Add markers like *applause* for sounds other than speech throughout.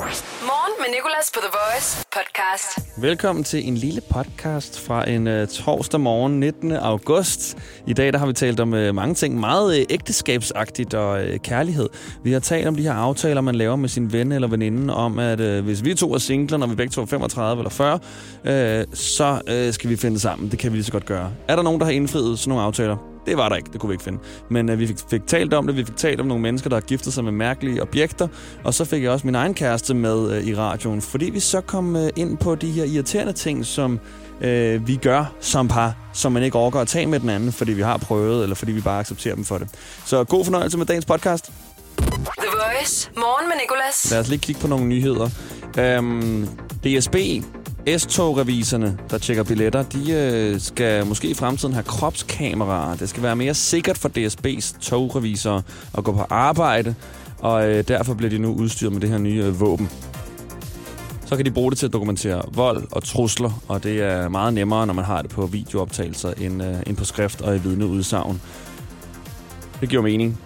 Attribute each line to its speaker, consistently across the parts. Speaker 1: Morgen med Nicolas på The Voice podcast.
Speaker 2: Velkommen til en lille podcast fra en øh, torsdag morgen 19. august. I dag der har vi talt om øh, mange ting, meget øh, ægteskabsagtigt og øh, kærlighed. Vi har talt om de her aftaler, man laver med sin ven eller veninde, om at øh, hvis vi to er singler, når vi begge to er 35 eller 40, øh, så øh, skal vi finde sammen. Det kan vi lige så godt gøre. Er der nogen, der har indfriet sådan nogle aftaler? Det var der ikke, det kunne vi ikke finde. Men øh, vi fik, fik talt om det, vi fik talt om nogle mennesker, der har giftet sig med mærkelige objekter, og så fik jeg også min egen kæreste med øh, i radioen, fordi vi så kom øh, ind på de her irriterende ting, som øh, vi gør som par, som man ikke overgår at tage med den anden, fordi vi har prøvet, eller fordi vi bare accepterer dem for det. Så god fornøjelse med dagens podcast.
Speaker 1: The Voice. Morgen med Nicolas.
Speaker 2: Lad os lige kigge på nogle nyheder. Øhm, DSB, S-togreviserne, der tjekker billetter, de øh, skal måske i fremtiden have kropskameraer. Det skal være mere sikkert for DSB's togrevisorer at gå på arbejde, og øh, derfor bliver de nu udstyret med det her nye øh, våben. Så kan de bruge det til at dokumentere vold og trusler, og det er meget nemmere, når man har det på videooptagelser end, øh, end på skrift og i vidneudsagn. Det giver mening.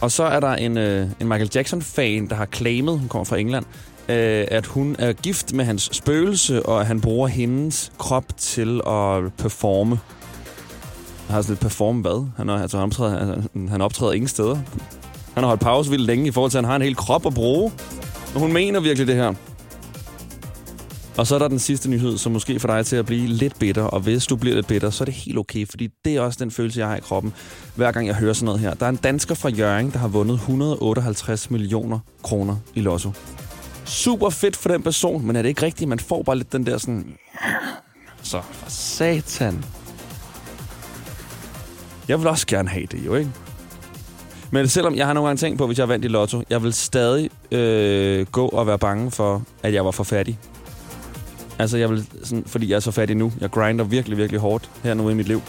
Speaker 2: Og så er der en, øh, en Michael Jackson-fan, der har claimet, hun kommer fra England, øh, at hun er gift med hans spøgelse, og at han bruger hendes krop til at performe. Han har sådan lidt performe hvad? Han, er, altså, han, optræder, altså, han optræder ingen steder. Han har holdt pause vildt længe i forhold til, at han har en hel krop at bruge. Men hun mener virkelig det her. Og så er der den sidste nyhed, som måske får dig til at blive lidt bitter. Og hvis du bliver lidt bitter, så er det helt okay, fordi det er også den følelse, jeg har i kroppen, hver gang jeg hører sådan noget her. Der er en dansker fra Jørgen, der har vundet 158 millioner kroner i lotto. Super fedt for den person, men er det ikke rigtigt? Man får bare lidt den der sådan... Så for satan. Jeg vil også gerne have det jo, ikke? Men selvom jeg har nogle gange tænkt på, hvis jeg vandt i lotto, jeg vil stadig øh, gå og være bange for, at jeg var for fattig. Altså, jeg vil, sådan, fordi jeg er så fattig nu. Jeg grinder virkelig, virkelig hårdt her nu i mit liv.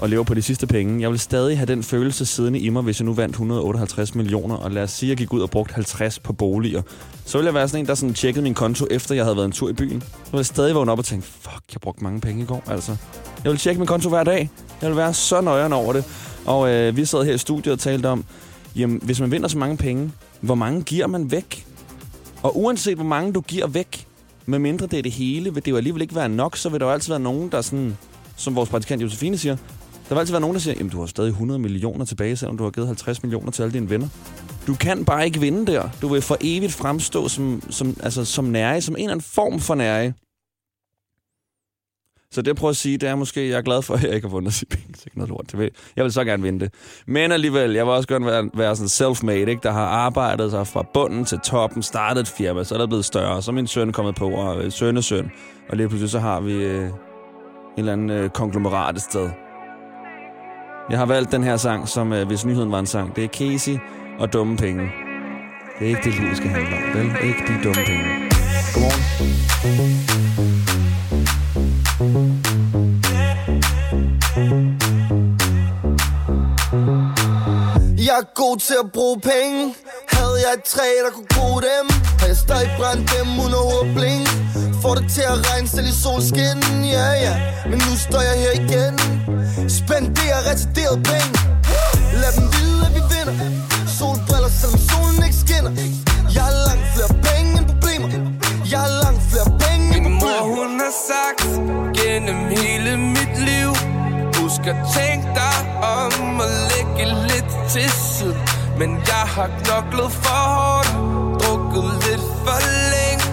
Speaker 2: Og lever på de sidste penge. Jeg vil stadig have den følelse siddende i mig, hvis jeg nu vandt 158 millioner. Og lad os sige, at jeg gik ud og brugte 50 på boliger. Så ville jeg være sådan en, der sådan tjekkede min konto, efter jeg havde været en tur i byen. Så ville jeg stadig vågne op og tænke, fuck, jeg brugte mange penge i går, altså. Jeg vil tjekke min konto hver dag. Jeg vil være så nøjeren over det. Og øh, vi sad her i studiet og talte om, jamen, hvis man vinder så mange penge, hvor mange giver man væk? Og uanset hvor mange du giver væk, medmindre det er det hele, vil det jo alligevel ikke være nok, så vil der jo altid være nogen, der sådan, som vores praktikant Josefine siger, der vil altid være nogen, der siger, jamen du har stadig 100 millioner tilbage, selvom du har givet 50 millioner til alle dine venner. Du kan bare ikke vinde der. Du vil for evigt fremstå som, som, altså, som nære, som en eller anden form for nære. Så det jeg prøver at sige, det er måske, jeg er glad for, *laughs* at jeg ikke har vundet sig penge til noget lort. Det vil- Jeg vil så gerne vinde det. Men alligevel, jeg vil også gerne være, være sådan self-made, ikke? der har arbejdet sig fra bunden til toppen, startet et firma, så er der blevet større, så er min søn er kommet på, og øh, søn og søn. Og lige pludselig så har vi øh, en eller anden øh, konglomerat et sted. Jeg har valgt den her sang, som øh, hvis nyheden var en sang, det er Casey og dumme penge. Det er ikke det, livet skal handle om, vel? Ikke de dumme penge. Godmorgen.
Speaker 3: Jeg er god til at bruge penge Havde jeg et træ, der kunne bruge dem Har jeg stadig brændt dem under håbling Får det til at regne selv i solskin Ja, ja, men nu står jeg her igen Spenderer retarderet penge Lad dem vide, at vi vinder Solbriller, selvom solen ikke skinner Jeg har langt flere penge end problemer Jeg har langt flere penge end
Speaker 4: Min
Speaker 3: problemer
Speaker 4: mor hun har sagt gennem hele mit liv Husk at tænke dig om og lægge lidt til siden Men jeg har knoklet for hårdt, drukket lidt for længe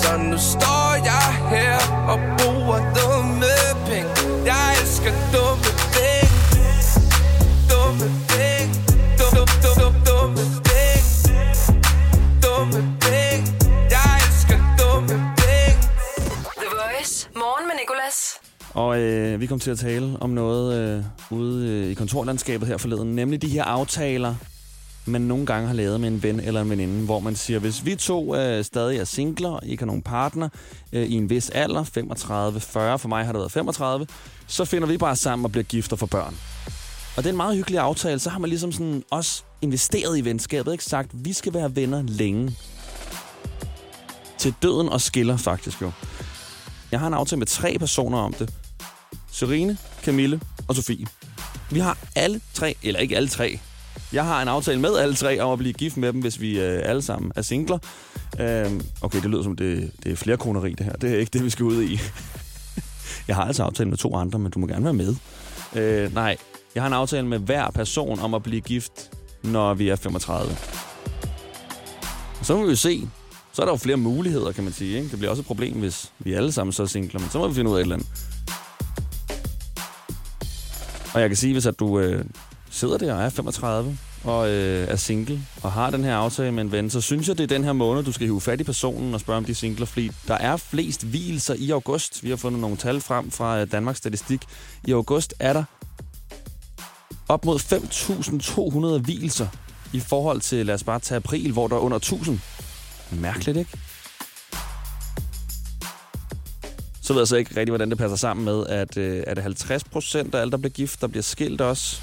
Speaker 4: Så nu står jeg her og bruger dumme penge Jeg elsker dumme penge Dumme penge Dum, dum, dum, dum, dumme penge Dumme penge Jeg elsker dumme penge
Speaker 1: The Voice. Morgen med Nicolas.
Speaker 2: Og øh, vi kom til at tale om noget øh, ude øh, i kontorlandskabet her forleden, nemlig de her aftaler, man nogle gange har lavet med en ven eller en veninde, hvor man siger, hvis vi to øh, stadig er singler, og ikke har nogen partner øh, i en vis alder, 35, 40, for mig har det været 35, så finder vi bare sammen og bliver gift og får børn. Og det er en meget hyggelig aftale, så har man ligesom sådan også investeret i venskabet, ikke sagt, vi skal være venner længe. Til døden og skiller faktisk jo. Jeg har en aftale med tre personer om det. Serine, Camille og Sofie. Vi har alle tre, eller ikke alle tre, Jeg har en aftale med alle tre om at blive gift med dem, hvis vi øh, alle sammen er singler. Øh, okay, det lyder som, det, det er flere koneri, det her. Det er ikke det, vi skal ud i. *laughs* jeg har altså aftalt med to andre, men du må gerne være med. Øh, nej, jeg har en aftale med hver person om at blive gift, når vi er 35. Og så må vi jo se. Så er der jo flere muligheder, kan man sige. Ikke? Det bliver også et problem, hvis vi alle sammen så er singler, men så må vi finde ud af et eller andet. Og jeg kan sige, hvis at du øh, sidder der og er 35 og øh, er single og har den her aftale med en ven, så synes jeg, det er den her måned, du skal hive fat i personen og spørge, om de er singler, fordi der er flest hvilelser i august. Vi har fundet nogle tal frem fra øh, Danmarks Statistik. I august er der op mod 5.200 hvilelser i forhold til, lad os bare tage april, hvor der er under 1000. Mærkeligt, ikke? Så ved jeg så ikke rigtig, hvordan det passer sammen med, at øh, er det 50 procent af alle, der bliver gift, der bliver skilt også?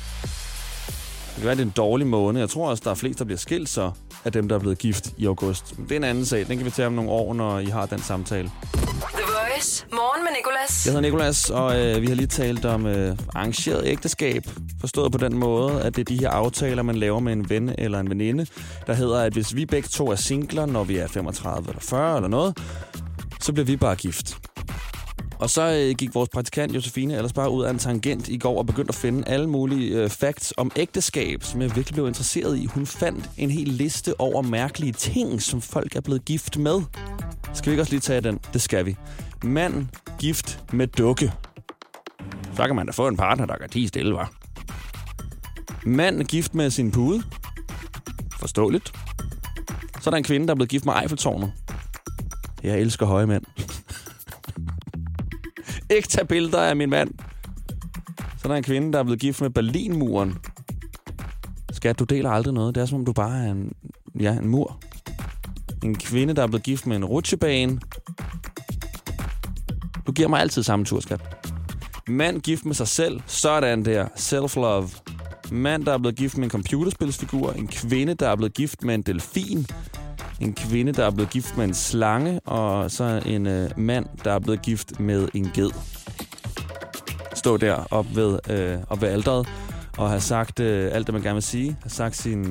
Speaker 2: Det kan være, det er en dårlig måned. Jeg tror også, der er flest, der bliver skilt så af dem, der er blevet gift i august. Men det er en anden sag. Den kan vi tage om nogle år, når I har den samtale.
Speaker 1: The Voice. Morgen med Nicolas.
Speaker 2: Jeg hedder Nikolas, og øh, vi har lige talt om øh, arrangeret ægteskab. Forstået på den måde, at det er de her aftaler, man laver med en ven eller en veninde, der hedder, at hvis vi begge to er singler, når vi er 35 eller 40 eller noget, så bliver vi bare gift. Og så øh, gik vores praktikant Josefine ellers bare ud af en tangent i går og begyndte at finde alle mulige øh, facts om ægteskab, som jeg virkelig blev interesseret i. Hun fandt en hel liste over mærkelige ting, som folk er blevet gift med. Skal vi ikke også lige tage den? Det skal vi. Mand gift med dukke. Så kan man da få en partner, der kan tige stille, var. Mand gift med sin pude. Forståeligt. Så er der en kvinde, der er blevet gift med Eiffeltårnet. Jeg elsker høje mænd. *laughs* Ikke tage billeder af min mand. Så er der en kvinde, der er blevet gift med Berlinmuren. Skat, du deler aldrig noget. Det er som om, du bare er en, ja, en mur. En kvinde, der er blevet gift med en rutsjebane. Du giver mig altid samme tur, skat. Mand gift med sig selv. Sådan der. Self-love. Mand, der er blevet gift med en computerspilsfigur. En kvinde, der er blevet gift med en delfin. En kvinde, der er blevet gift med en slange. Og så en øh, mand, der er blevet gift med en ged. Stå der op ved, øh, op ved alderet og have sagt øh, alt, det man gerne vil sige. Have sagt sin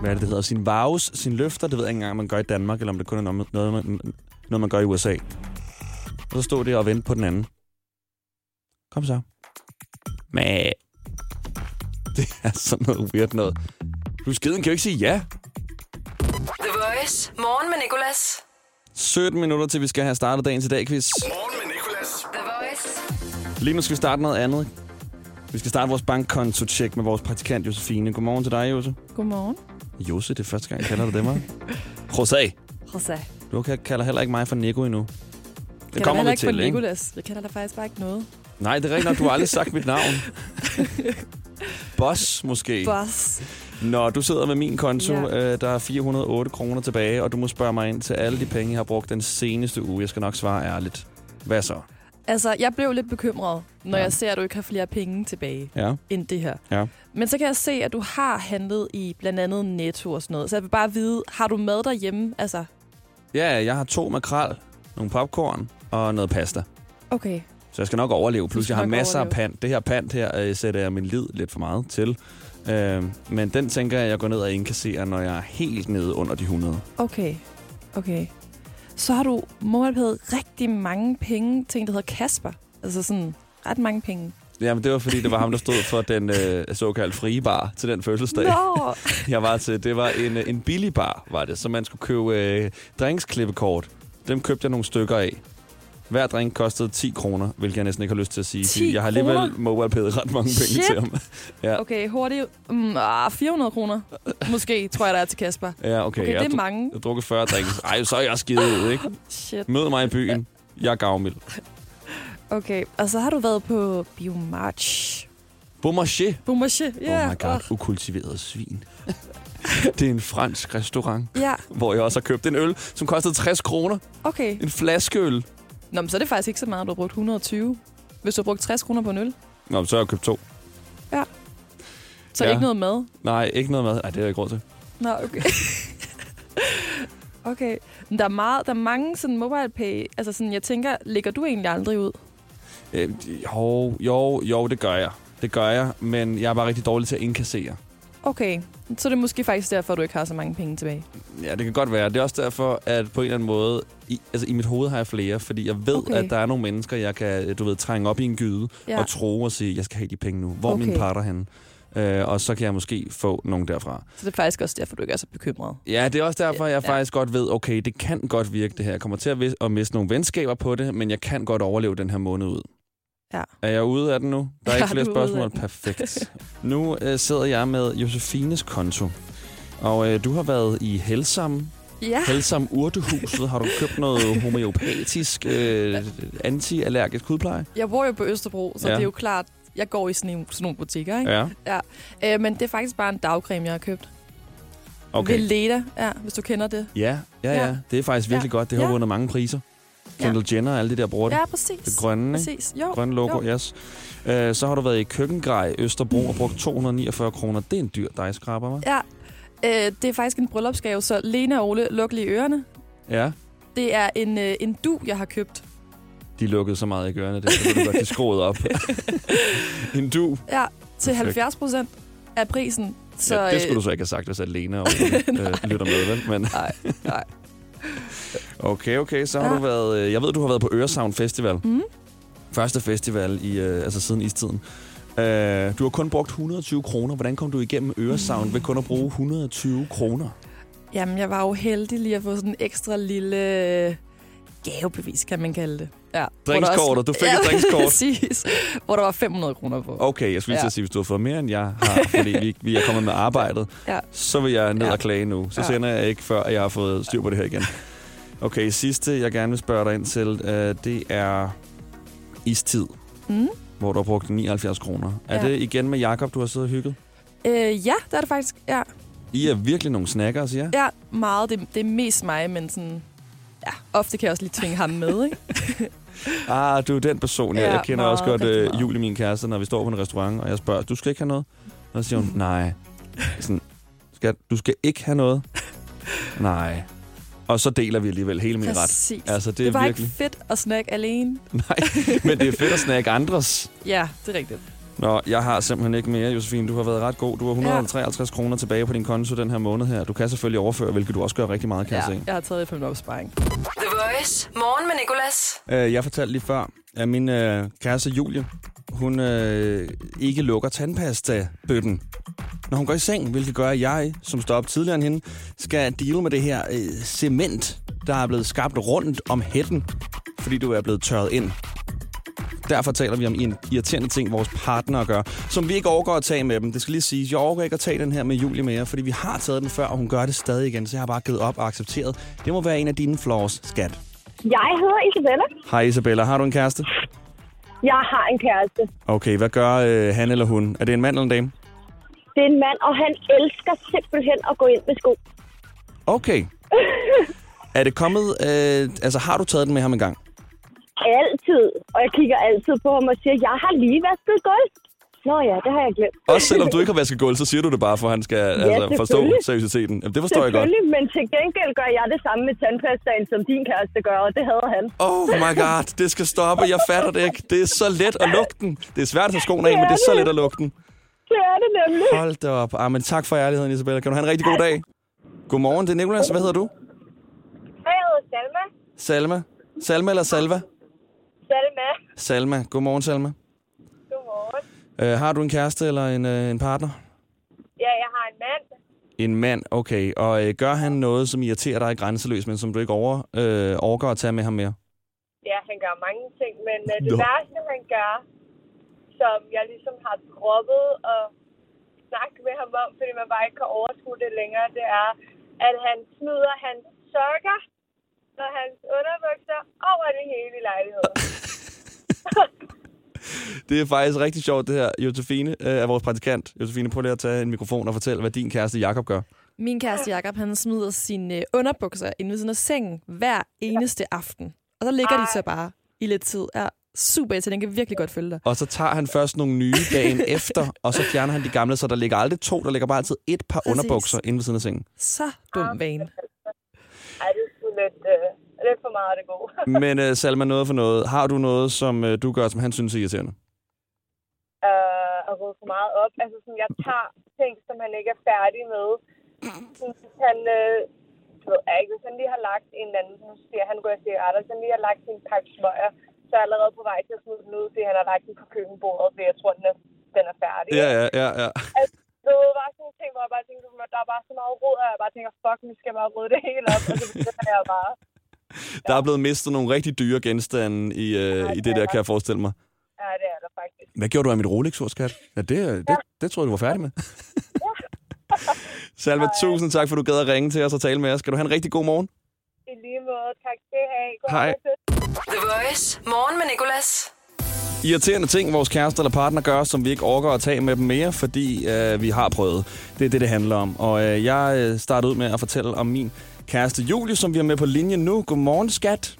Speaker 2: hvad er det, det hedder, sin vows, sin løfter. Det ved jeg ikke engang, om man gør i Danmark, eller om det kun er noget, noget, man, noget man gør i USA. Og så stod det og ventede på den anden. Kom så. Men *laughs* det er sådan noget weird noget. Du skeden kan jo ikke sige ja.
Speaker 1: The Voice. Morgen med Nicolas.
Speaker 2: 17 minutter til vi skal have startet dagens i dag quiz.
Speaker 5: Morgen med Nicolas.
Speaker 1: The Voice.
Speaker 2: Lige nu skal vi starte noget andet. Vi skal starte vores bankkonto-tjek med vores praktikant Josefine. Godmorgen til dig, Jose.
Speaker 6: Godmorgen.
Speaker 2: Jose, det er første gang, jeg kalder dig det, mig. *laughs* Jose.
Speaker 6: Rosa.
Speaker 2: Du kan- kalder heller ikke mig for Nico endnu. Det
Speaker 6: Jeg
Speaker 2: kommer
Speaker 6: heller
Speaker 2: vi
Speaker 6: ikke
Speaker 2: til,
Speaker 6: for
Speaker 2: ikke?
Speaker 6: Nicolas. Jeg kalder dig faktisk bare ikke noget.
Speaker 2: Nej, det er rigtigt nok. Du har aldrig sagt mit
Speaker 6: *laughs*
Speaker 2: navn. Boss, måske.
Speaker 6: Boss.
Speaker 2: Nå, du sidder med min konto.
Speaker 6: Ja.
Speaker 2: Ja. Øh, der er 408 kroner tilbage, og du må spørge mig ind til alle de penge, jeg har brugt den seneste uge. Jeg skal nok svare ærligt. Hvad så?
Speaker 6: Altså, jeg blev lidt bekymret, når
Speaker 2: Ja.
Speaker 6: ja. jeg ser, at du ikke har flere penge tilbage
Speaker 2: Ja.
Speaker 6: end det her.
Speaker 2: Ja.
Speaker 6: Men så kan jeg se, at du har handlet i blandt andet Netto og sådan noget. Så jeg vil bare vide, har du mad derhjemme? Altså,
Speaker 2: Ja, jeg har to makrel, nogle popcorn og noget pasta.
Speaker 6: okay.
Speaker 2: Så jeg skal nok overleve. Plus,
Speaker 6: skal
Speaker 2: jeg har
Speaker 6: nok
Speaker 2: masser af
Speaker 6: overleve.
Speaker 2: pant. Det her pant her øh, sætter jeg min lid lidt for meget til. Øh, men den tænker jeg, jeg går ned og indkasserer, når jeg er helt nede under de 100.
Speaker 6: Okay. Okay. Så har du målpædet rigtig mange penge til en, der hedder Kasper. Altså sådan ret mange penge.
Speaker 2: Jamen, det var fordi, det var ham, der stod for den øh, såkaldte frie bar til den fødselsdag.
Speaker 6: Nå!
Speaker 2: jeg var til, det var en, øh, en billig bar, var det, så man skulle købe øh, drinksklippekort. Dem købte jeg nogle stykker af. Hver drink kostede 10 kroner, hvilket jeg næsten ikke har lyst til at sige.
Speaker 6: 10
Speaker 2: fordi jeg har alligevel
Speaker 6: kroner?
Speaker 2: mobile ret mange penge
Speaker 6: Shit.
Speaker 2: til ham. Ja.
Speaker 6: Okay, hurtigt. Mm, ah, 400 kroner. Måske, tror jeg, der er til Kasper.
Speaker 2: Ja, okay.
Speaker 6: Okay,
Speaker 2: jeg,
Speaker 6: det
Speaker 2: har
Speaker 6: er
Speaker 2: dru-
Speaker 6: mange.
Speaker 2: jeg har drukket 40 drinks. Ej, så er jeg skidt ud, ikke?
Speaker 6: Shit.
Speaker 2: Mød mig i byen. Jeg er gavmild.
Speaker 6: Okay, og så har du været på Biomarch.
Speaker 2: Beaumarchais.
Speaker 6: Biomarche, ja.
Speaker 2: Yeah. Oh my god, ukultiveret svin. *laughs* det er en fransk restaurant,
Speaker 6: Ja,
Speaker 2: hvor jeg også har købt en øl, som kostede 60 kroner.
Speaker 6: okay.
Speaker 2: En flaskeøl.
Speaker 6: Nå, men så er det faktisk ikke så meget, du har brugt 120. Hvis du har brugt 60 kroner på en øl,
Speaker 2: Nå, men så har jeg købt to.
Speaker 6: så
Speaker 2: Ja.
Speaker 6: ja. ikke noget mad.
Speaker 2: Nej, ikke noget mad. Ej, det har jeg ikke råd til.
Speaker 6: Nå, okay. *laughs* okay. Men der er, meget, der er mange sådan mobile pay. Altså sådan, jeg tænker, lægger du egentlig aldrig ud?
Speaker 2: Øh, jo, jo, jo, det gør jeg. Det gør jeg, men jeg er bare rigtig dårlig til at indkassere.
Speaker 6: Okay, så det er måske faktisk derfor, du ikke har så mange penge tilbage.
Speaker 2: Ja, det kan godt være. Det er også derfor, at på en eller anden måde, i, altså i mit hoved har jeg flere, fordi jeg ved, okay.
Speaker 6: Okay.
Speaker 2: at der er nogle mennesker, jeg kan, du ved, trænge op i en gyde ja.
Speaker 6: Ja.
Speaker 2: og tro og sige, jeg skal have de penge nu. Hvor okay.
Speaker 6: Okay.
Speaker 2: min parter henne? Øh, og så kan jeg måske få nogen derfra.
Speaker 6: Så det er faktisk også derfor, du ikke er så bekymret.
Speaker 2: Ja, det er også derfor, jeg ja.
Speaker 6: Ja.
Speaker 2: faktisk godt ved, okay, det kan godt virke det her. Jeg kommer til at, vis- at miste nogle venskaber på det, men jeg kan godt overleve den her måned ud.
Speaker 6: Ja.
Speaker 2: Er jeg ude af den nu? Der er
Speaker 6: *laughs* Ja,
Speaker 2: ikke flere
Speaker 6: du er ude af
Speaker 2: spørgsmål.
Speaker 6: den. *laughs*
Speaker 2: Perfekt. nu øh, sidder jeg med Josefines konto. Og øh, du har været i Helsam
Speaker 6: Ja,
Speaker 2: Halsam Urtehuset, har du købt
Speaker 6: *laughs*
Speaker 2: noget homeopatisk, øh, anti-allergisk hudpleje?
Speaker 6: jeg bor jo på Østerbro, så
Speaker 2: Ja.
Speaker 6: ja. det er jo klart, jeg går i sådan nogle, sådan nogle butikker, ikke?
Speaker 2: Ja,
Speaker 6: Ja. Øh, men det er faktisk bare en dagcreme, jeg har købt. Ved
Speaker 2: okay.
Speaker 6: Leda, ja, hvis du kender det.
Speaker 2: Ja, ja, ja.
Speaker 6: Ja.
Speaker 2: Det er faktisk virkelig godt. Det har
Speaker 6: Ja.
Speaker 2: vundet mange priser.
Speaker 6: Ja.
Speaker 2: Kendall Jenner og alle det der bruger det.
Speaker 6: Ja, præcis.
Speaker 2: Det grønne, ikke?
Speaker 6: Præcis, jo.
Speaker 2: Grønne logo, yes. Øh, så har du været i køkkengrej Østerbro og brugt 249 kroner. Det er en dyr dejskraber, hva'?
Speaker 6: Ja. Øh, det er faktisk en bryllupsgave, så Lena og Ole, luk lige ørerne.
Speaker 2: Ja.
Speaker 6: Det er en, øh, en du, jeg har købt.
Speaker 2: De lukkede så meget i ørerne, det så kunne du godt de skruede
Speaker 6: *laughs*
Speaker 2: op. en du.
Speaker 6: Ja, til
Speaker 2: Perfekt.
Speaker 6: 70 procent af prisen. Så,
Speaker 2: Så, ja, det skulle du
Speaker 6: øh,
Speaker 2: så ikke have sagt, hvis
Speaker 6: *laughs*
Speaker 2: Alena og øh, lytter med, vel? Men...
Speaker 6: Nej, nej.
Speaker 2: Okay, okay, så har ja.
Speaker 6: Ja.
Speaker 2: du været... øh, Jeg ved, du har været på Øresound Festival.
Speaker 6: Mhm.
Speaker 2: Første festival i, øh, altså siden istiden. Øh, du har kun brugt 120 kroner. Hvordan kom du igennem Øresound ved kun at bruge 120 kroner?
Speaker 6: øh, Jamen, jeg var jo heldig lige at få sådan en ekstra lille øh, gavebevis, kan man kalde det. Ja. hvor der
Speaker 2: Drinkskortet. Du fik et
Speaker 6: *laughs*
Speaker 2: drinkskort.
Speaker 6: præcis. Hvor der var 500 kroner på.
Speaker 2: Okay, jeg skulle lige til
Speaker 6: Ja.
Speaker 2: at sige, hvis du har fået mere, end jeg har, fordi vi, vi er kommet med arbejdet,
Speaker 6: Ja.
Speaker 2: så vil jeg ned
Speaker 6: Ja.
Speaker 2: og klage nu. Så
Speaker 6: Ja.
Speaker 2: sender jeg ikke, før jeg har fået styr på det her igen. Okay, sidste, jeg gerne vil spørge dig ind til, øh, det er istid,
Speaker 6: Mm.
Speaker 2: hvor du har brugt 79 kroner. Er
Speaker 6: Ja.
Speaker 2: det igen med Jakob, du har siddet og hygget?
Speaker 6: Øh, ja, der er det faktisk. Ja,
Speaker 2: I er virkelig nogle snakker, siger jeg.
Speaker 6: ja meget. Det, det er mest mig, men sådan... Ja, ofte kan jeg også lige tvinge ham med, ikke?
Speaker 2: Ah, du er den person. Jeg, ja,
Speaker 6: Ja,
Speaker 2: jeg kender også
Speaker 6: meget,
Speaker 2: godt
Speaker 6: rigtig
Speaker 2: øh,
Speaker 6: meget.
Speaker 2: Julie, min kæreste, når vi står på en restaurant, og jeg spørger, du skal ikke have noget? Og så siger hun, nej. Sådan, skal, du skal ikke have noget? Nej. Og så deler vi alligevel hele min ret.
Speaker 6: Præcis.
Speaker 2: Altså, det,
Speaker 6: det
Speaker 2: er
Speaker 6: var
Speaker 2: virkelig...
Speaker 6: ikke fedt at snakke alene.
Speaker 2: Nej, men det er fedt at snakke andres.
Speaker 6: Ja, det er rigtigt.
Speaker 2: Nå, jeg har simpelthen ikke mere, Josefine. Du har været ret god. Du har 153 ja. kroner tilbage på din konto den her måned her. Du kan selvfølgelig overføre, hvilket du også gør rigtig meget, kan
Speaker 6: Ja,
Speaker 2: jeg se.
Speaker 6: jeg har taget det på min opsparing.
Speaker 1: The Voice. Morgen med Nicolas.
Speaker 2: Øh, jeg fortalte lige før, at min øh, kæreste Julie, hun øh, ikke lukker tandpasta-bøtten, når hun går i seng, hvilket gør, at jeg, som står op tidligere end hende, skal deale med det her øh, cement, der er blevet skabt rundt om hætten, fordi du er blevet tørret ind. Derfor taler vi om en irriterende ting, vores partnere gør, som vi ikke overgår at tage med dem. Det skal lige sige, jeg overgår ikke at tage den her med Julie mere, fordi vi har taget den før, og hun gør det stadig igen, så jeg har bare givet op og accepteret. Det må være en af dine flaws, skat.
Speaker 5: Jeg hedder Isabella.
Speaker 2: Hej Isabella, har du en kæreste?
Speaker 5: Jeg har en kæreste.
Speaker 2: Okay, hvad gør øh, han eller hun? Er det en mand eller en dame?
Speaker 5: Det er en mand, og han elsker simpelthen at gå ind med sko. *laughs*
Speaker 2: Okay. er det kommet... Øh, altså, har du taget den med ham engang?
Speaker 5: Altid. Og jeg kigger altid på ham og siger, jeg har lige vasket gulv. Nå ja, det har jeg glemt.
Speaker 2: Også selvom
Speaker 5: *laughs*
Speaker 2: du ikke har vasket gulv, så siger du det bare, for han skal ja, altså, forstå
Speaker 5: selvfølgelig.
Speaker 2: seriøsiteten. Jamen, det forstår jeg godt.
Speaker 5: Selvfølgelig, men til gengæld gør jeg det samme med tandpastaen, som din kæreste gør, og det havde han.
Speaker 2: Oh my god, det skal stoppe. Jeg fatter det ikke. Det er så let at lukke den. Det er svært at tage skoene af, men det er så let at lukke den.
Speaker 5: Det er det nemlig.
Speaker 2: Hold da op. Ah, men tak for ærligheden, Isabella. Kan du have en rigtig god dag? Godmorgen, det er Nicolas. Hvad hedder du?
Speaker 5: Hej, jeg hedder Salma.
Speaker 2: Salma. Salma eller Salva?
Speaker 5: Salma.
Speaker 2: Salma. Godmorgen, Salma.
Speaker 5: Godmorgen.
Speaker 2: Uh, har du en kæreste eller en, uh, en partner?
Speaker 5: Ja, jeg har en mand.
Speaker 2: En mand, okay. Og øh, gør han noget, som irriterer dig grænseløst, men som du ikke over, øh, overgår at tage med ham mere?
Speaker 5: Ja, han gør mange ting, men øh, det
Speaker 2: Nå.
Speaker 5: værste, han gør, som jeg ligesom har droppet og snakket med ham om, fordi man bare ikke kan overskue det længere, det er, at han smider hans sokker og hans underbukser over det hele i lejligheden.
Speaker 2: Det er faktisk rigtig sjovt, det her. Josefine øh, er vores praktikant. Josefine, prøv lige at tage en mikrofon og fortæl, hvad din kæreste Jakob gør.
Speaker 6: Min kæreste Jakob, han smider sine øh, underbukser inde ved siden af sengen hver eneste aften. Og så ligger de så bare i lidt tid. Ja, super, så den kan virkelig godt følge dig.
Speaker 2: Og så tager han først nogle nye dagen efter, og så fjerner han de gamle, så der ligger aldrig to, der ligger bare altid et par
Speaker 6: Præcis.
Speaker 2: underbukser inde ved siden af sengen.
Speaker 6: Så
Speaker 7: Ah,
Speaker 6: dum vane.
Speaker 5: Ej, det er sgu lidt, øh, lidt for meget af det gode.
Speaker 2: Men øh, Salma, noget for noget. Har du noget, som øh, du gør, som han synes er irriterende?
Speaker 5: øh, at råde for meget op. Altså, sådan, jeg tager ting, som han ikke er færdig med. Sådan, hvis han, øh, det ved jeg ikke, hvis han lige har lagt en eller anden, nu siger han, ryger cigaretter, hvis han lige har lagt sin pakke smøger, så er jeg allerede på vej til at smide den ud, fordi han har lagt den på køkkenbordet, fordi jeg tror, den er, den er færdig.
Speaker 2: Ja, ja, ja, ja.
Speaker 5: Altså, det var bare sådan nogle ting, hvor jeg bare tænkte, at der er bare så meget rod, og jeg bare tænker, fuck, nu skal jeg bare rydde det hele op, og så begynder jeg bare.
Speaker 2: Der er blevet mistet nogle rigtig dyre genstande i, øh, i det der, kan jeg forestille mig.
Speaker 5: Ja, det er der faktisk.
Speaker 2: Hvad gjorde du af mit Rolex-ur, skat? Ja, det, øh, det, det tror jeg, du var færdig *laughs* med. Salve, *laughs* tusind tak, for du gad at ringe til os og tale med os. Skal du have en rigtig god morgen?
Speaker 5: I lige måde, tak skal I have. God
Speaker 2: Hej.
Speaker 5: aften.
Speaker 1: The Voice. Morgen med Nicolas.
Speaker 2: irriterende ting, vores kærester eller partner gør, som vi ikke orker at tage med dem mere, fordi øh, vi har prøvet. Det er det, det handler om. Og øh, jeg øh, starter ud med at fortælle om min kæreste Julie, som vi har med på linjen nu. Godmorgen, skat.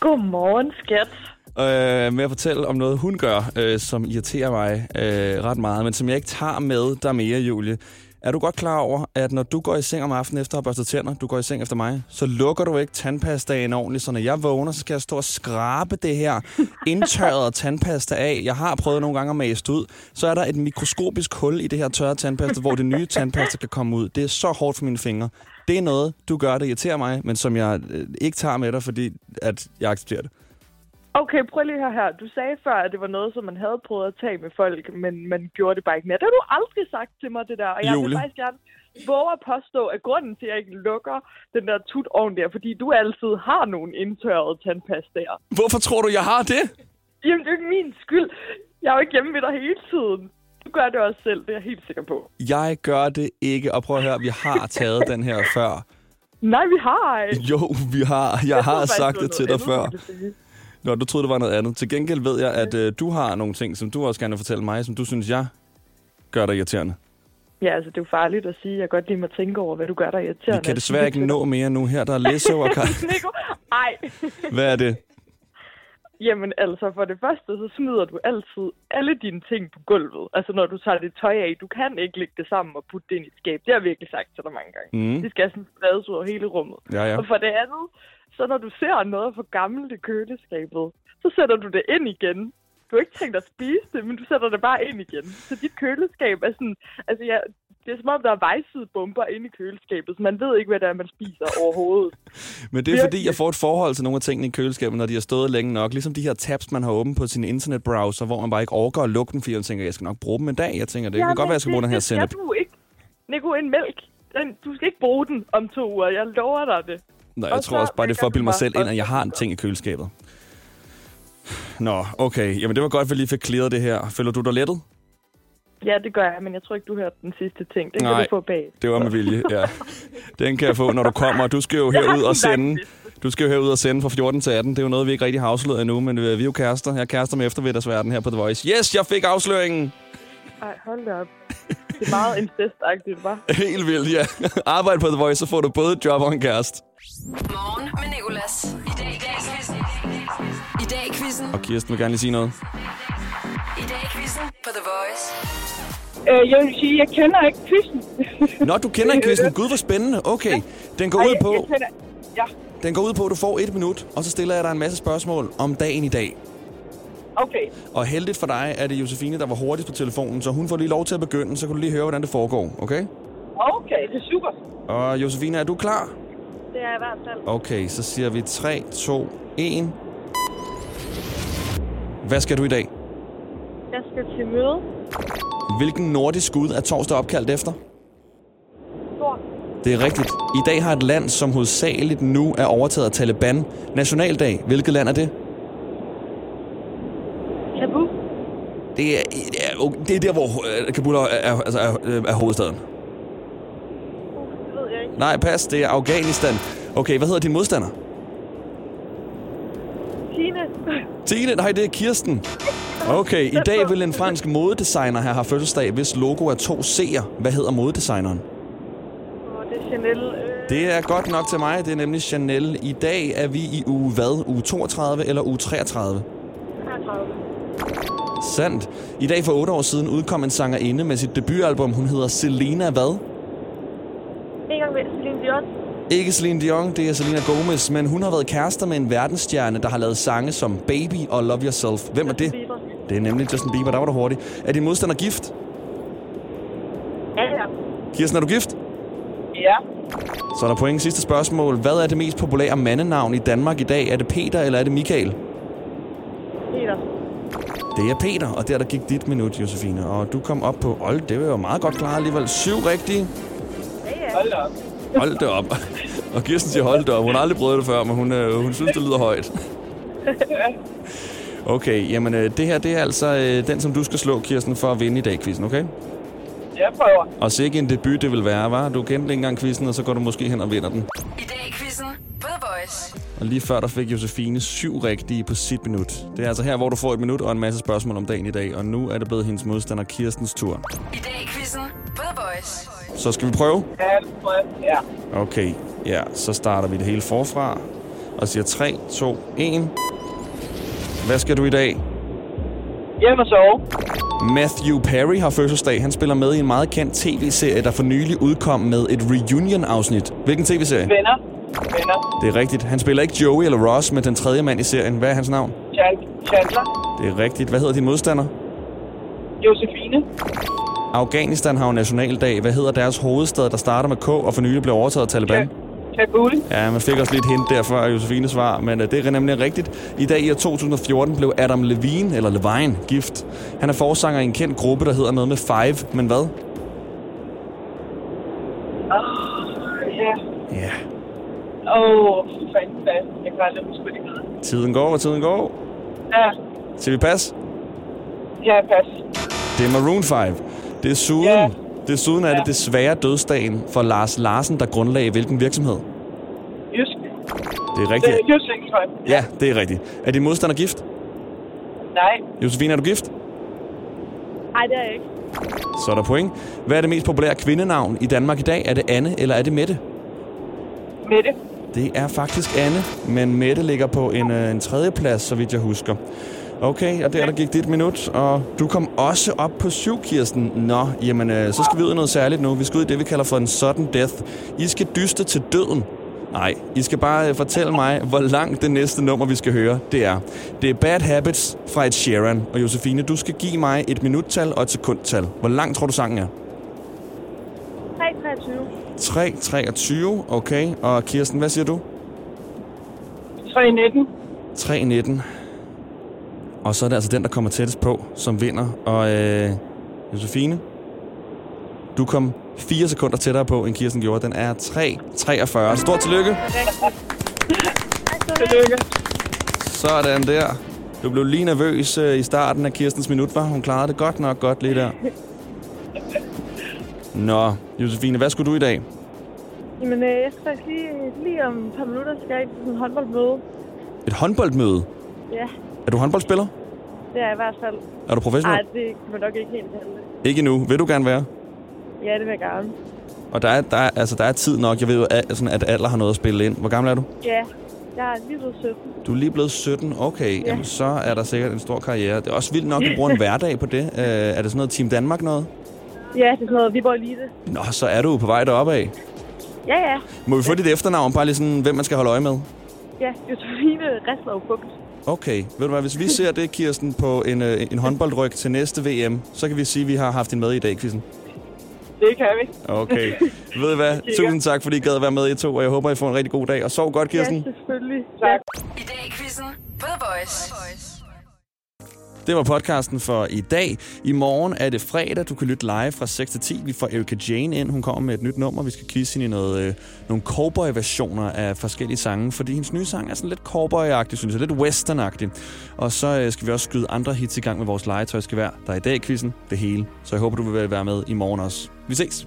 Speaker 7: Godmorgen, skat.
Speaker 2: Øh, med at fortælle om noget, hun gør, øh, som irriterer mig øh, ret meget, men som jeg ikke tager med dig mere, Julie. Er du godt klar over, at når du går i seng om aftenen efter at have børstet tænder, du går i seng efter mig, så lukker du ikke tandpastaen ordentligt, så når jeg vågner, så skal jeg stå og skrabe det her indtørrede tandpasta af. Jeg har prøvet nogle gange at mase det ud. Så er der et mikroskopisk hul i det her tørre tandpasta, hvor det nye tandpasta kan komme ud. Det er så hårdt for mine fingre. Det er noget, du gør, det irriterer mig, men som jeg øh, ikke tager med dig, fordi at jeg accepterer det.
Speaker 7: Okay, prøv lige her her. Du sagde før, at det var noget, som man havde prøvet at tage med folk, men man gjorde det bare ikke mere. Det har du aldrig sagt til mig, det der. Og jeg
Speaker 2: Julie.
Speaker 7: vil faktisk gerne våge at påstå, at grunden til, at jeg ikke lukker den der tut oven der, fordi du altid har nogle indtørrede tandpastaer.
Speaker 2: Hvorfor tror du, jeg har det?
Speaker 7: Jamen, det er jo ikke min skyld. Jeg er jo ikke hjemme ved dig hele tiden. Du gør det også selv, det er jeg helt sikker på.
Speaker 2: Jeg gør det ikke, og prøv at høre, vi har taget den her
Speaker 7: *laughs*
Speaker 2: før.
Speaker 7: Nej, vi har ej.
Speaker 2: Jo, vi har. Jeg har
Speaker 7: troede faktisk,
Speaker 2: sagt
Speaker 7: var
Speaker 2: det til dig
Speaker 7: noget
Speaker 2: før.
Speaker 7: andet, du ville sige.
Speaker 2: Nå, du troede, det var noget andet. Til gengæld ved jeg, at øh, du har nogle ting, som du også gerne vil fortælle mig, som du synes, jeg gør dig irriterende.
Speaker 7: Ja, altså, det er jo farligt at sige. Jeg kan godt lide mig at tænke over, hvad du gør, der
Speaker 2: Vi
Speaker 7: irriterende.
Speaker 2: kan desværre ikke nå mere nu her. Der er
Speaker 7: *laughs*
Speaker 2: Lesso og Kar-
Speaker 7: Nico, ej.
Speaker 2: Hvad er det?
Speaker 7: Jamen altså, for det første, så smider du altid alle dine ting på gulvet. Altså, når du tager det tøj af, du kan ikke lægge det sammen og putte det ind i et skab. Det har jeg virkelig sagt til dig mange gange.
Speaker 2: Mm.
Speaker 7: Det skal sådan spredes ud over hele rummet.
Speaker 2: Ja, ja.
Speaker 7: Og for det andet, så når du ser noget for gammelt i køleskabet, så sætter du det ind igen. Du har ikke tænkt dig at spise det, men du sætter det bare ind igen. Så dit køleskab er sådan... Altså, ja, det er som om, der er vejsidebomber inde i køleskabet, så man ved ikke, hvad det er, man spiser overhovedet.
Speaker 2: Men det er fordi, jeg får et forhold til nogle af tingene i køleskabet, når de har stået længe nok. Ligesom de her tabs, man har åbent på sin internetbrowser, hvor man bare ikke overgår at lukke dem, fordi man tænker, jeg skal nok bruge dem en dag. Jeg tænker, det kan godt være, jeg skal bruge den her
Speaker 7: sennep.
Speaker 2: sennep.
Speaker 7: Det skal du ikke. Nico, en mælk. Den, du skal ikke bruge den om to uger. Jeg lover dig det.
Speaker 2: Nå, jeg
Speaker 7: Og
Speaker 2: tror
Speaker 7: så
Speaker 2: også bare, det er for at
Speaker 7: lægger
Speaker 2: bilde
Speaker 7: du
Speaker 2: mig
Speaker 7: bare
Speaker 2: selv ind, at jeg har en
Speaker 7: ostesmør.
Speaker 2: ting i køleskabet. Nå, okay. Jamen, det var godt, at vi lige fik clearet det her. Føler du dig lettet?
Speaker 7: Ja, det gør jeg, men jeg tror ikke, du hørte den sidste ting. Den
Speaker 2: Nej.
Speaker 7: kan du få bag.
Speaker 2: Det var med vilje, ja. Den kan jeg få, når du kommer. Du skal
Speaker 5: *laughs*
Speaker 2: jo herud og sende. Du skal jo herud og sende fra 14 til 18. Det er jo noget, vi ikke rigtig har afsløret endnu, men øh, vi er jo kærester. Jeg er kærester med eftermiddagsverden her på The Voice. Yes, jeg fik afsløringen! *laughs*
Speaker 7: Ej, hold da op. Det er meget incestagtigt, hva'?
Speaker 2: Helt vildt, ja. Arbejd på The Voice, så får du både et job og en kæreste.
Speaker 1: Morgen med Nicolas. I dag i dag quizzen. I dag i quizzen.
Speaker 2: Og Kirsten vil gerne lige sige noget.
Speaker 1: I dag i quizzen på The Voice.
Speaker 5: Øh, jeg vil sige, jeg kender ikke quizzen.
Speaker 2: Nå, du kender ikke quizzen. Gud, hvor spændende. Okay, den går ud
Speaker 5: jeg, jeg
Speaker 2: på...
Speaker 5: kender... Ja,
Speaker 2: Den går ud på, at du får et minut, og så stiller jeg dig en masse spørgsmål om dagen i dag.
Speaker 5: okay.
Speaker 2: Og heldigt for dig er det Josefine, der var hurtigst på telefonen, så hun får lige lov til at begynde, så kan du lige høre, hvordan det foregår, okay?
Speaker 5: Okay, det er super.
Speaker 2: Og Josefine, er du klar?
Speaker 5: Det er i hvert fald.
Speaker 2: Okay, så siger vi 3, 2, 1. Hvad skal du i dag?
Speaker 5: Jeg skal til møde.
Speaker 2: Hvilken nordisk gud er torsdag opkaldt efter?
Speaker 5: Thor.
Speaker 2: Det er rigtigt. I dag har et land, som hovedsageligt nu er overtaget af Taliban. Nationaldag. Hvilket land er det?
Speaker 5: Tabu.
Speaker 2: Det er, det er, okay, det er der, hvor øh, Kabul er, er, altså er, øh, er hovedstaden.
Speaker 5: Uh, Det ved jeg ikke.
Speaker 2: Nej, pas. Det er Afghanistan. Okay, hvad hedder din modstander?
Speaker 5: Tine.
Speaker 2: Tine, nej, det er Kirsten. Okay, i dag vil en fransk modedesigner her have fødselsdag, hvis logo er to C'er. Hvad hedder modedesigneren?
Speaker 5: Og det er Chanel. Øh,
Speaker 2: Det er godt nok til mig. Det er nemlig Chanel. I dag er vi i uge hvad? Uge 32 eller uge 33?
Speaker 5: 30.
Speaker 2: Sandt. I dag for 8 år siden udkom en sangerinde med sit debutalbum. Hun hedder Selena hvad?
Speaker 5: En gang med Celine Dion.
Speaker 2: Ikke Celine Dion, det er Selena Gomez, men hun har været kærester med en verdensstjerne, der har lavet sange som Baby og Love Yourself. Hvem er det?
Speaker 5: Bieber.
Speaker 2: Det er nemlig Justin Bieber. Der var du hurtig. Er din modstander gift?
Speaker 5: Ja, ja.
Speaker 2: Kirsten, er du gift?
Speaker 7: Ja.
Speaker 2: Så er der point. Sidste spørgsmål. Hvad er det mest populære mandenavn i Danmark i dag? Er det Peter, eller er det Michael?
Speaker 7: Peter.
Speaker 2: Det er Peter, og der, der gik dit minut, Josefine. Og du kom op på, hold, det var jo meget godt klaret alligevel. Syv rigtige.
Speaker 7: Hold da op.
Speaker 2: Hold det op. *laughs* Og Kirsten siger, hold det op. Hun har aldrig prøvet det før, men hun, øh, hun synes, det lyder højt. Okay, jamen øh, det her, det er altså øh, den, som du skal slå, Kirsten, for at vinde i dag, quizzen, okay?
Speaker 7: Jeg prøver.
Speaker 2: Og sikke en debut, det vil være, var. Du kendte ikke engang quizzen, og så går du måske hen og vinder den.
Speaker 1: I dag quizzen på The Voice.
Speaker 2: Og lige før, der fik Josefine syv rigtige på sit minut. Det er altså her, hvor du får et minut og en masse spørgsmål om dagen i dag, og nu er det blevet hendes modstander Kirstens tur.
Speaker 1: I dag quizzen på The Voice.
Speaker 2: Så skal vi prøve?
Speaker 7: Ja, ja.
Speaker 2: Okay, ja, så starter vi det hele forfra og siger 3, 2, 1. Hvad skal du i dag?
Speaker 7: Hjem og sove.
Speaker 2: Matthew Perry har fødselsdag. Han spiller med i en meget kendt tv-serie, der for nylig udkom med et reunion-afsnit. Hvilken tv-serie?
Speaker 7: Venner. Venner.
Speaker 2: Det er rigtigt. Han spiller ikke Joey eller Ross, men den tredje mand i serien. Hvad er hans navn?
Speaker 7: Chandler.
Speaker 2: Det er rigtigt. Hvad hedder din modstander?
Speaker 7: Josefine.
Speaker 2: Afghanistan har jo nationaldag. Hvad hedder deres hovedstad, der starter med K og for nylig blev overtaget af Taliban?
Speaker 7: Kabul.
Speaker 2: Ja, man fik også lidt hint der før Josefines svar, men øh, det er nemlig rigtigt. I dag i år 2014 blev Adam Levine, eller Levine, gift. Han er forsanger i en kendt gruppe, der hedder noget med Five, men hvad?
Speaker 7: Ja.
Speaker 2: Ja,
Speaker 7: Åh, oh, fantastisk. Jeg kan aldrig huske, hvad det hedder.
Speaker 2: tiden går, og tiden går.
Speaker 7: Ja.
Speaker 2: Til vi pas?
Speaker 7: Ja, pas.
Speaker 2: Det er Maroon 5. Desuden,
Speaker 7: Ja.
Speaker 2: desuden er det
Speaker 7: Ja.
Speaker 2: desværre dødsdagen for Lars Larsen, der grundlagde hvilken virksomhed?
Speaker 7: Jysk.
Speaker 2: Det er rigtigt.
Speaker 7: Jysk, tror jeg.
Speaker 2: Ja, det er rigtigt. Er din modstander gift?
Speaker 7: Nej.
Speaker 2: Josefine, er du gift?
Speaker 7: Nej, det er jeg ikke.
Speaker 2: Så er der point. Hvad er det mest populære kvindenavn i Danmark i dag? Er det Anne, eller er det Mette?
Speaker 7: Mette.
Speaker 2: Det er faktisk Anne, men Mette ligger på en, øh, en tredjeplads, så vidt jeg husker. Okay, og der, der gik dit minut, og du kom også op på syv, Kirsten. Nå, jamen, øh, så skal vi ud i noget særligt nu. Vi skal ud i det, vi kalder for en sudden death. I skal dyste til døden. Nej, I skal bare øh, fortælle mig, hvor langt det næste nummer, vi skal høre, det er. Det er Bad Habits fra Ed Sheeran. Og Josefine, du skal give mig et minuttal og et sekundtal. Hvor langt tror du, sangen er?
Speaker 7: 323.
Speaker 2: 3, 23, okay. Og Kirsten, hvad siger du?
Speaker 7: 319.
Speaker 2: 3-19. Og så er det altså den, der kommer tættest på, som vinder. Og øh, Josefine, du kom 4 sekunder tættere på, end Kirsten gjorde. Den er 3-43. Stort tillykke.
Speaker 7: Tillykke.
Speaker 2: Sådan der. Du blev lige nervøs øh, i starten af Kirstens minut, var Hun klarede det godt nok godt lige der. Nå, Josefine, hvad skulle du i dag?
Speaker 7: Jamen, øh, jeg skal faktisk lige, lige om et par minutter skal jeg ind til sådan en håndboldmøde.
Speaker 2: Et håndboldmøde?
Speaker 7: Ja,
Speaker 2: Er du håndboldspiller?
Speaker 7: det er jeg i hvert fald.
Speaker 2: Er du professionel?
Speaker 7: Nej, det kan man nok ikke helt kalde det.
Speaker 2: Ikke endnu. Vil du gerne være?
Speaker 7: Ja, det vil jeg gerne.
Speaker 2: Og der er, der, er, altså, der er tid nok. Jeg ved jo, at, sådan, at alder har noget at spille ind. Hvor gammel er du?
Speaker 7: Ja, jeg er lige blevet 17.
Speaker 2: Du er lige blevet 17, okay. Ja.
Speaker 7: Ja.
Speaker 2: Jamen, så er der sikkert en stor karriere. Det er også vildt nok, at du *laughs* bruger en hverdag på det. Øh, er det sådan noget Team Danmark noget?
Speaker 7: Ja, det er sådan noget Viborg Elite.
Speaker 2: Nå, så er du jo på vej deroppe af.
Speaker 7: Ja, ja.
Speaker 2: Må vi få dit efternavn, bare lige sådan, hvem man skal holde øje med?
Speaker 7: Ja, Josefine Resler Fugt.
Speaker 2: Okay, ved du hvad, hvis vi ser det, Kirsten, på en, øh, en håndboldryg til næste VM, så kan vi sige, at vi har haft en med i dag, Kirsten.
Speaker 7: Det kan vi.
Speaker 2: Okay, ved du *laughs* hvad, tusind tak, fordi I gad at være med i to, og jeg håber, I får en rigtig god dag. Og sov godt, Kirsten.
Speaker 7: Ja, selvfølgelig. Tak.
Speaker 1: I dag quizzen på The Voice.
Speaker 2: Det var podcasten for i dag. I morgen er det fredag. Du kan lytte live fra 6 til 10. Vi får Erika Jane ind. Hun kommer med et nyt nummer. Vi skal quizze hende i noget, øh, nogle cowboy-versioner af forskellige sange, fordi hendes nye sang er sådan lidt cowboy-agtig, synes jeg. Lidt western-agtig. Og så øh, skal vi også skyde andre hits i gang med vores legetøjsgevær, der er i dag i quizzen. Det hele. Så jeg håber, du vil være med i morgen også. Vi ses!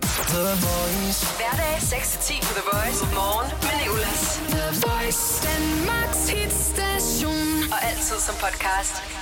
Speaker 1: Hverdag 6-10 på The Voice. Morgen med Nicolas.
Speaker 8: The Voice, Danmarks hitstation.
Speaker 1: Og altid som podcast.